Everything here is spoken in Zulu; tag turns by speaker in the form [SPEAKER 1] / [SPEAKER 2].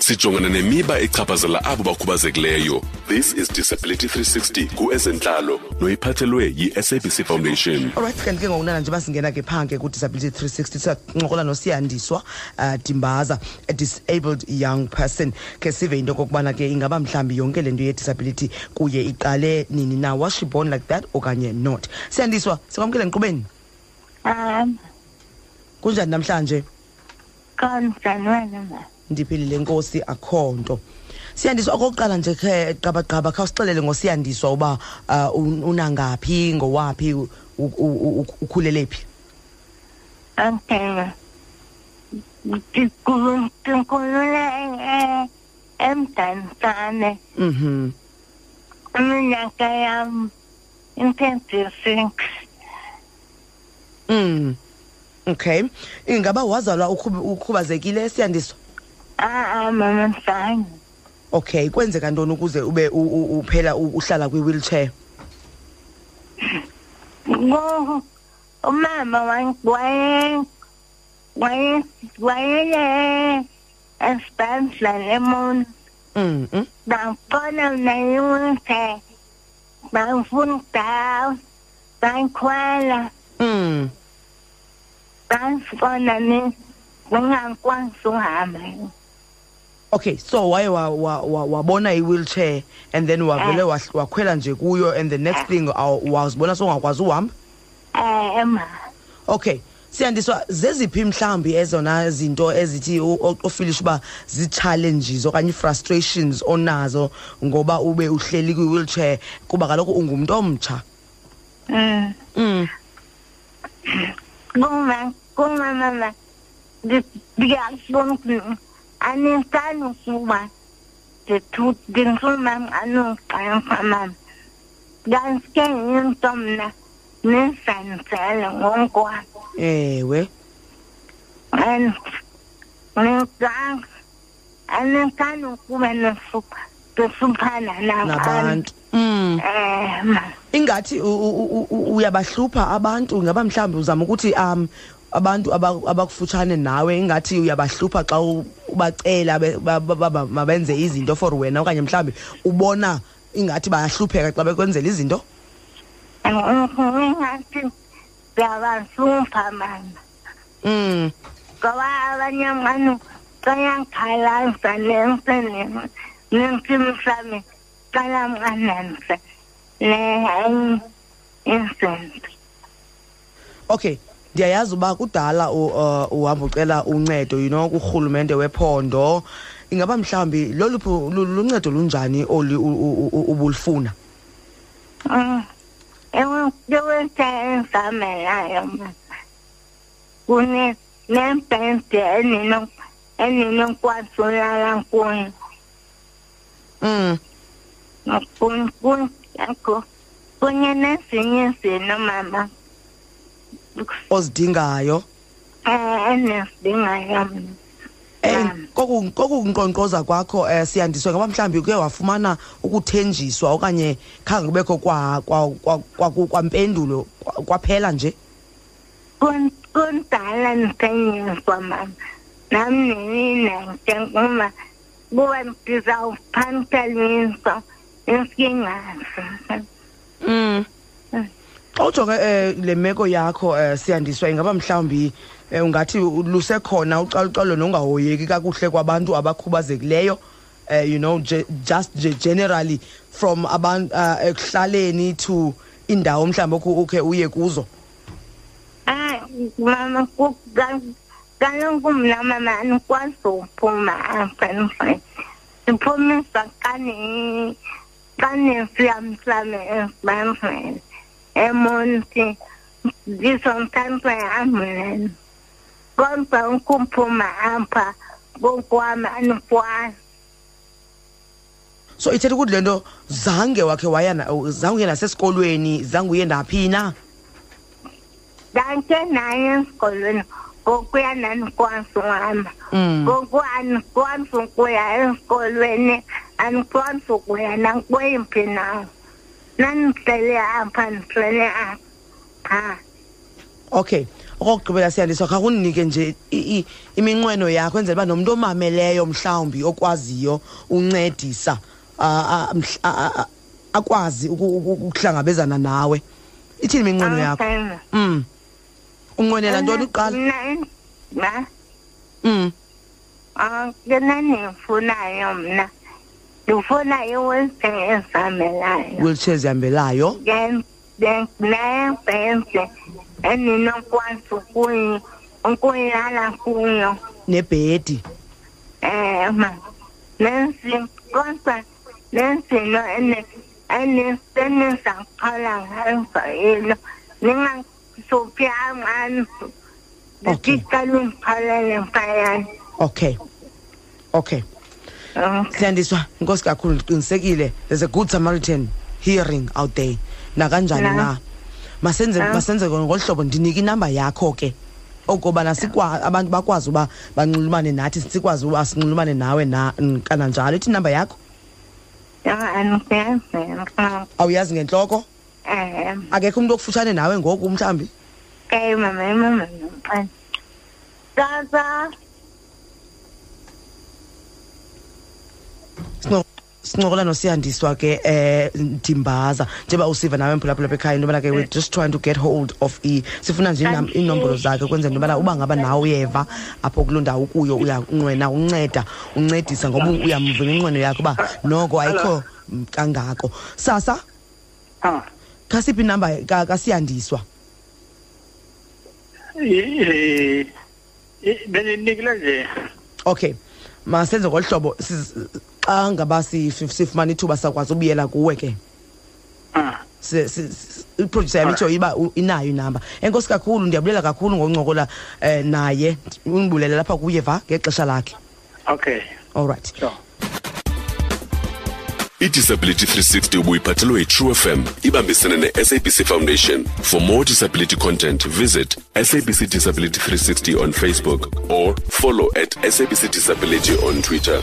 [SPEAKER 1] sijongana nemiba echaphazela abo bakhubazekileyo this is disability 360 kuezentlalo noyiphathelwe yi-sabc foundation
[SPEAKER 2] olright kanti ke ngokunana nje basingena ke phange ku-disability 360 siyancokola nosiyandiswa uh, dimbaza a disabled young person ke sive into okokubana ke ingaba mhlawumbi yonke le nto ye-disability kuye iqale nini na was she born like that okanye not siyandiswa sikwamkele nkqubeni
[SPEAKER 3] Um,
[SPEAKER 2] kunjani namhlanje
[SPEAKER 3] kanjani wena?
[SPEAKER 2] ndiphilile nkosi akho nto siyandiswa okokuqala nje khe qabaqaba kha usixelele ngosiyandiswa uba uh, un- unangaphi ngowaphi u- u- u- u- ukhulele phi
[SPEAKER 3] Okay. Ndikhulu- Ndikhulula e- e- eMdantsane
[SPEAKER 2] mhm
[SPEAKER 3] iminyaka yam i-twenty-six.
[SPEAKER 2] Mm. Okay. Ingaba wazalwa ukhub- ukhubazekile siyandiswa?
[SPEAKER 3] Ah, ah, mama mhlanje.
[SPEAKER 2] Okay, kwenzeka ntoni ukuze ube u- u- uphela u- uhlala kwi-wheelchair?
[SPEAKER 3] Ngoku oh, umama wan- waye- waye- wayele esibhedlele eMount
[SPEAKER 2] Mhm.
[SPEAKER 3] bangibona mna iwilchair bangifuna ukudawa bangikhwela
[SPEAKER 2] Mm.
[SPEAKER 3] bangifona ngingakwazi uhamba
[SPEAKER 2] Okay, so waye wa- wa- wa- wabona i-wheelchair and then wavele wahl- wakhwela nje kuyo and the next thing aw- wazibona songakwazi uhamba?
[SPEAKER 3] um ema
[SPEAKER 2] Okay. Siyandiswa zeziphi mhlambi ezona izinto ezithi u- o- ofilisha uba zi-challenges okanye frustrations onazo ngoba ube uhleli kwi-wheelchair kuba kaloku ungumuntu omtsha.
[SPEAKER 3] um
[SPEAKER 2] Mm.
[SPEAKER 3] kuma kuma mama ndi- ndiyafuna uku- andisani ukuba ndithu- ndifuna anokuqanisa mama ndantike into mna nizanzele ngonkwabo
[SPEAKER 2] Ewe.
[SPEAKER 3] and ngicanga andisani ukuba nesupa- ndihluphana nabantu
[SPEAKER 2] Nabantu. Mm.
[SPEAKER 3] um
[SPEAKER 2] Ingathi u- u- u- u- uyabahlupa abantu ngaba mhlambi uzama ukuthi um abantu aba- abakufutshane nawe ingathi uyabahlupa xa u- ubacela be- ba- ba- ba- ba- mabenze izinto for wena okanye mhlambi ubona ingathi bayahlupheka xa bekwenzela izinto.
[SPEAKER 3] ngingathi ndiyabahlupha mama
[SPEAKER 2] Mm.
[SPEAKER 3] ngoba abanye abantu bayangikhalaza nense nentsimi sami calamqananise le izinto
[SPEAKER 2] Okay. Ndiyayazi uba kudala u- uh, uhamba ucela uncedo you know kurhulumente wephondo ingaba mhlambi loluphi lu- luncedo lunjani oli u- u- u- ubulifuna?
[SPEAKER 3] Ờ, iwinta endisamelayo mama kune nempente endinokwazi ulala kuyo
[SPEAKER 2] Mm.
[SPEAKER 3] kun- kun- yakho. kunye nezinye izinto mama
[SPEAKER 2] ozidingayo
[SPEAKER 3] um endizidingayo mna
[SPEAKER 2] Eh,
[SPEAKER 3] Mm.
[SPEAKER 2] koku kokunqonqoza kwakho eh, siyandiswe ngoba mhlambi kuye wafumana ukuthenjiswa okanye khange kubekho kwa kwa kwa- kwa- kwampendulo kwa- kwaphela nje
[SPEAKER 3] Kun- kundala ndisenyiswa mama nam ndininanke kuba kuba ndizawuphanteliswa isingazi
[SPEAKER 2] mm
[SPEAKER 3] Mm.
[SPEAKER 2] xa ujonge eh, le meko yakho eh, siyandiswa ingaba mhlawumbi eh, ungathi lusekhona ucalucalo nongahoyeki kakuhle kwabantu abakhubazekileyo eh, you know ge- just ge- generally from abantu uh, ekuhlaleni to indawo mhlawumbi oku- ukhe uye kuzo
[SPEAKER 3] Ah, mama ku- ka- kaloku mna mama andikwazi uphuma apha endlini ndiphumisa kane- e kanesiyamsame esibandlele E emonti ndisomthantswe ambulance kodwa ukuphuma apha kokwam andikwazi
[SPEAKER 2] so ithetha ukuthi lento zange wakhe waya na- oh, zange uye nasesikolweni zange uye naphi na
[SPEAKER 3] ndake naye esikolweni ngokuya nandikwazi uhamba
[SPEAKER 2] mm.
[SPEAKER 3] ngoku andikwazi ukuya esikolweni andikwazi ukuya nakweyiphi nawo à. nandihlele apha ndihlele apha
[SPEAKER 2] okay okokugqibela siyandiswa kha kundinike nje i- i- iminqweno yakho enzela uba nomntu omameleyo mhlawumbi okwaziyo uncedisa ah, ah, mhla- ah, ah, ah, akwazi uku- uku- ukuhlangabezana nawe ithini
[SPEAKER 3] Ah,
[SPEAKER 2] iminqweno yakho
[SPEAKER 3] Awuthanda.
[SPEAKER 2] mm unqwenela
[SPEAKER 3] Eh,
[SPEAKER 2] ntoni uqala
[SPEAKER 3] Mna in- ma,
[SPEAKER 2] mm
[SPEAKER 3] ah, yona endiyifunayo mna ndifuna iwheelchair ezihambelayo
[SPEAKER 2] wheelchair zihambelayo
[SPEAKER 3] Ke- ke- nebhentsi endinokwazi ukuyi- ukuyilala kuyo
[SPEAKER 2] nebhedi
[SPEAKER 3] Ema. Nansi kodwa nansi lo ene ene senenza qala ngazo yelo. Ninga sophi amani.
[SPEAKER 2] Okay.
[SPEAKER 3] Ndicela ngiphalele mfayani.
[SPEAKER 2] okay okay
[SPEAKER 3] Ừ,
[SPEAKER 2] siyandiswa inkosi kakhulu ndiqinisekile there's a good samaritan hearing out there nakanjani
[SPEAKER 3] Na.
[SPEAKER 2] na masenze
[SPEAKER 3] Na.
[SPEAKER 2] masenze ngolu hlobo ndinike inamba yakho ke okubana sikwa abantu bakwazi uba banxulumane nathi sikwazi uba sinxulumane nawe na n- kananjalo ithi inamba yakho
[SPEAKER 3] Angiyazi.
[SPEAKER 2] awuyazi ngentloko
[SPEAKER 3] Eh,
[SPEAKER 2] akekho umntu okufutshane nawe ngoku mhlawumbi
[SPEAKER 3] ke mama mama mfayani. Tata,
[SPEAKER 2] Sinco- sincokola nosiyandiswa ke eh ndimbaza njengoba usiva nawe mphulaphula bekhaya into yobana ke we're just trying to get hold of i sifuna nje inam- iinombolo zakhe kwenzela into yobana uba ngaba nawe uyeva apho kuloo ndawo ukuyo uyanqwena unceda uncedisa ngoba u- uyamvula inqweno yakho uba noko ayikho mm, kangako sasa
[SPEAKER 4] Ah,
[SPEAKER 2] khasiphi inamba ka- kasiyandiswa
[SPEAKER 4] eh, eh, beninikile nje
[SPEAKER 2] okay masenze ngolu hlobo siz- xa ngaba sif- sifumana ithuba sakwazi ubuyela kuwe ke
[SPEAKER 4] Ah,
[SPEAKER 2] si- si- si- iproducer yam itsho iba u- inayo inamba enkosi kakhulu ndiyabulela kakhulu ngoncokola um naye undibulele lapha kuye va ngexesha lakhe
[SPEAKER 4] okay
[SPEAKER 2] all right
[SPEAKER 4] sure
[SPEAKER 1] idisability 360 ubuyiphathelwe yitrue fm ibambisene ne-sabc foundation for more disability content visit sabc disability 360 on facebook or follow at sabc disability on twitter